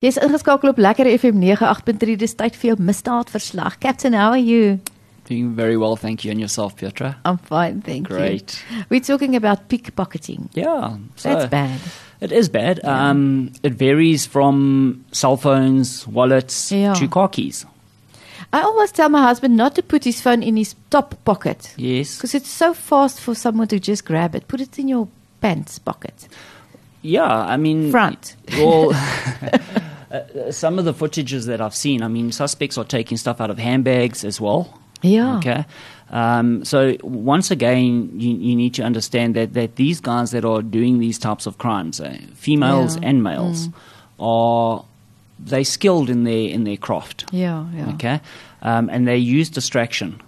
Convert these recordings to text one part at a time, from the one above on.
Jy's ingeskakel op Lekker FM 98.3. Dis tyd vir jou misdaadverslag. Captain, how are you? Doing very well, thank you. And yourself, Pietra? I'm fine, thank Great. Oh. you. We're talking about pickpocketing. Yeah. so- That's bad. It is bad. Um, it varies from cell phones, wallets, Yeah. to car keys. I always tell my husband not to put his phone in his top pocket Yes. because it's so fast for someone to just grab it. Put it in your pants pocket. Yeah, I mean. Front. Well, uh, some of the footages that I've seen, I mean, suspects are taking stuff out of handbags as well. Yeah. Okay. Um, so once again, you, you need to understand that, that these guys that are doing these types of crimes, uh, females Yeah. Mm. and males, are they skilled in their in their craft? Yeah, yeah. Okay, um, and they use distraction.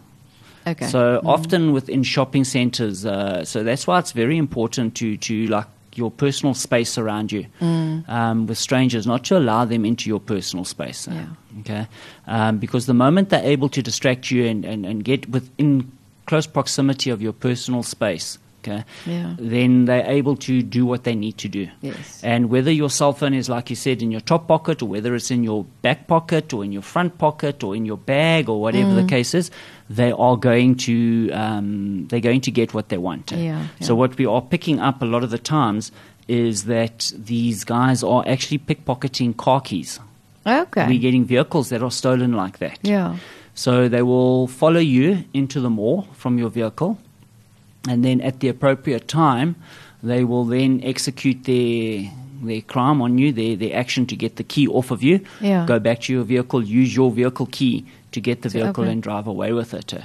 Okay. So often within shopping centres, uh, so that's why it's very important to to like your personal space around you Mm. um, with strangers, not to allow them into your personal space. uh, Yeah. Okay, um, because the moment they're able to distract you and, and, and get within close proximity of your personal space. Okay. Yeah. Then they're able to do what they need to do. Yes. And whether your cell phone is, like you said, in your top pocket, or whether it's in your back pocket, or in your front pocket, or in your bag, or whatever Mm. the case is, they are going to um, they're going to get what they want. Yeah, So yeah. what we are picking up a lot of the times is that these guys are actually pickpocketing car keys. okay. We're getting vehicles that are stolen like that. yeah. So they will follow you into the mall from your vehicle, and then at the appropriate time, they will then execute their their crime on you, their their action to get the key off of you. Yeah. Go back to your vehicle, use your vehicle key to get the To vehicle open. and drive away with it. Uh,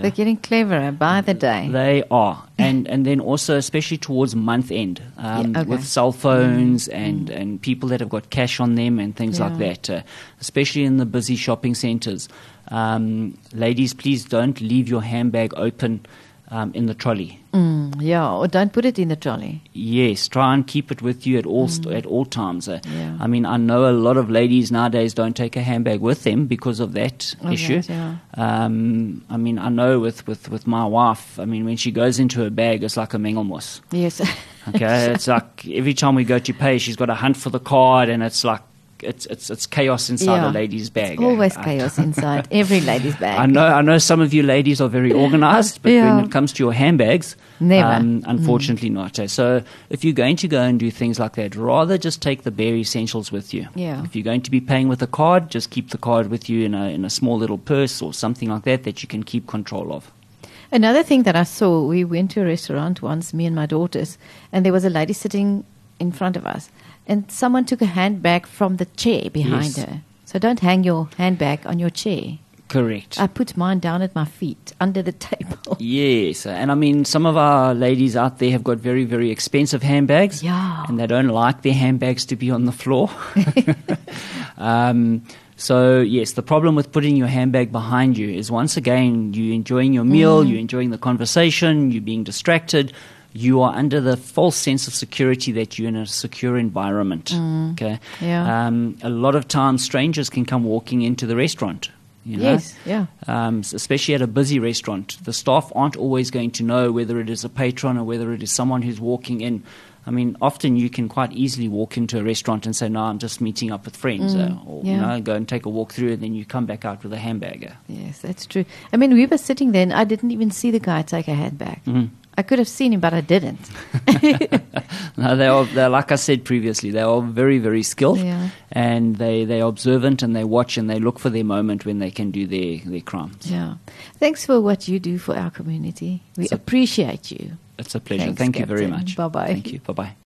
They're getting cleverer by the day. They are, and and then also especially towards month end, um, Yeah, okay. Mm. with cell phones and and people that have got cash on them and things like Yeah. that, uh, especially in the busy shopping centres. Um, ladies, please don't leave your handbag open um, in the trolley. Mm, yeah, or don't put it in the trolley. Yes, try and keep it with you at all st- at all times. Uh, Mm. Yeah. I mean, I know a lot of ladies nowadays don't take a handbag with them because of that Of issue. that, yeah. um, I mean, I know with, with, with my wife. I mean, when she goes into her bag, it's like a mengelmus. Yes. Okay, it's like every time we go to pay, she's got to hunt for the card, and it's like it's it's, it's chaos inside Yeah. a lady's bag. It's always I- chaos inside every lady's bag. I know, I know. Some of you ladies are very organised, but Yeah. when it comes to your handbags, um, Never. unfortunately, not. Eh, So, if you're going to go and do things like that, rather just take the bare essentials with you. Yeah. If you're going to be paying with a card, just keep the card with you in a in a small little purse or something like that that you can keep control of. Another thing that I saw, we went to a restaurant once, me and my daughters, and there was a lady sitting in front of us, and someone took a handbag from the chair behind Yes. her. So don't hang your handbag on your chair. Correct. I put mine down at my feet, under the table. Yes, uh, and I mean some of our ladies out there have got very, very expensive handbags. Yeah. and they don't like their handbags to be on the floor. um, so yes, the problem with putting your handbag behind you is once again you enjoying your Mm. meal, you enjoying the conversation, you being distracted. You are under the false sense of security that you're in a secure environment. Mm. Okay. Yeah. Um, a lot of times, strangers can come walking into the restaurant. You know? Yes, yeah. um, s- especially at a busy restaurant. The staff aren't always going to know whether it is a patron or whether it is someone who's walking in. I mean, often you can quite easily walk into a restaurant and say, "No, I'm just meeting up with friends," uh, or you Mm, yeah. know, go and take a walk through, and then you come back out with a hamburger. Yes, that's true. I mean, we were sitting there, and I didn't even see the guy take a handbag. Mm-hmm. I could have seen him, but I didn't. No, they are, they're, like I said previously, they are very, very skilled, They are. and they they are observant and they watch and they look for their moment when they can do their their crime. Yeah. Thanks for what you do for our community. We So- appreciate you. It's a pleasure. Thanks, Thank you very Captain. much. Bye-bye. Thank you. Bye bye.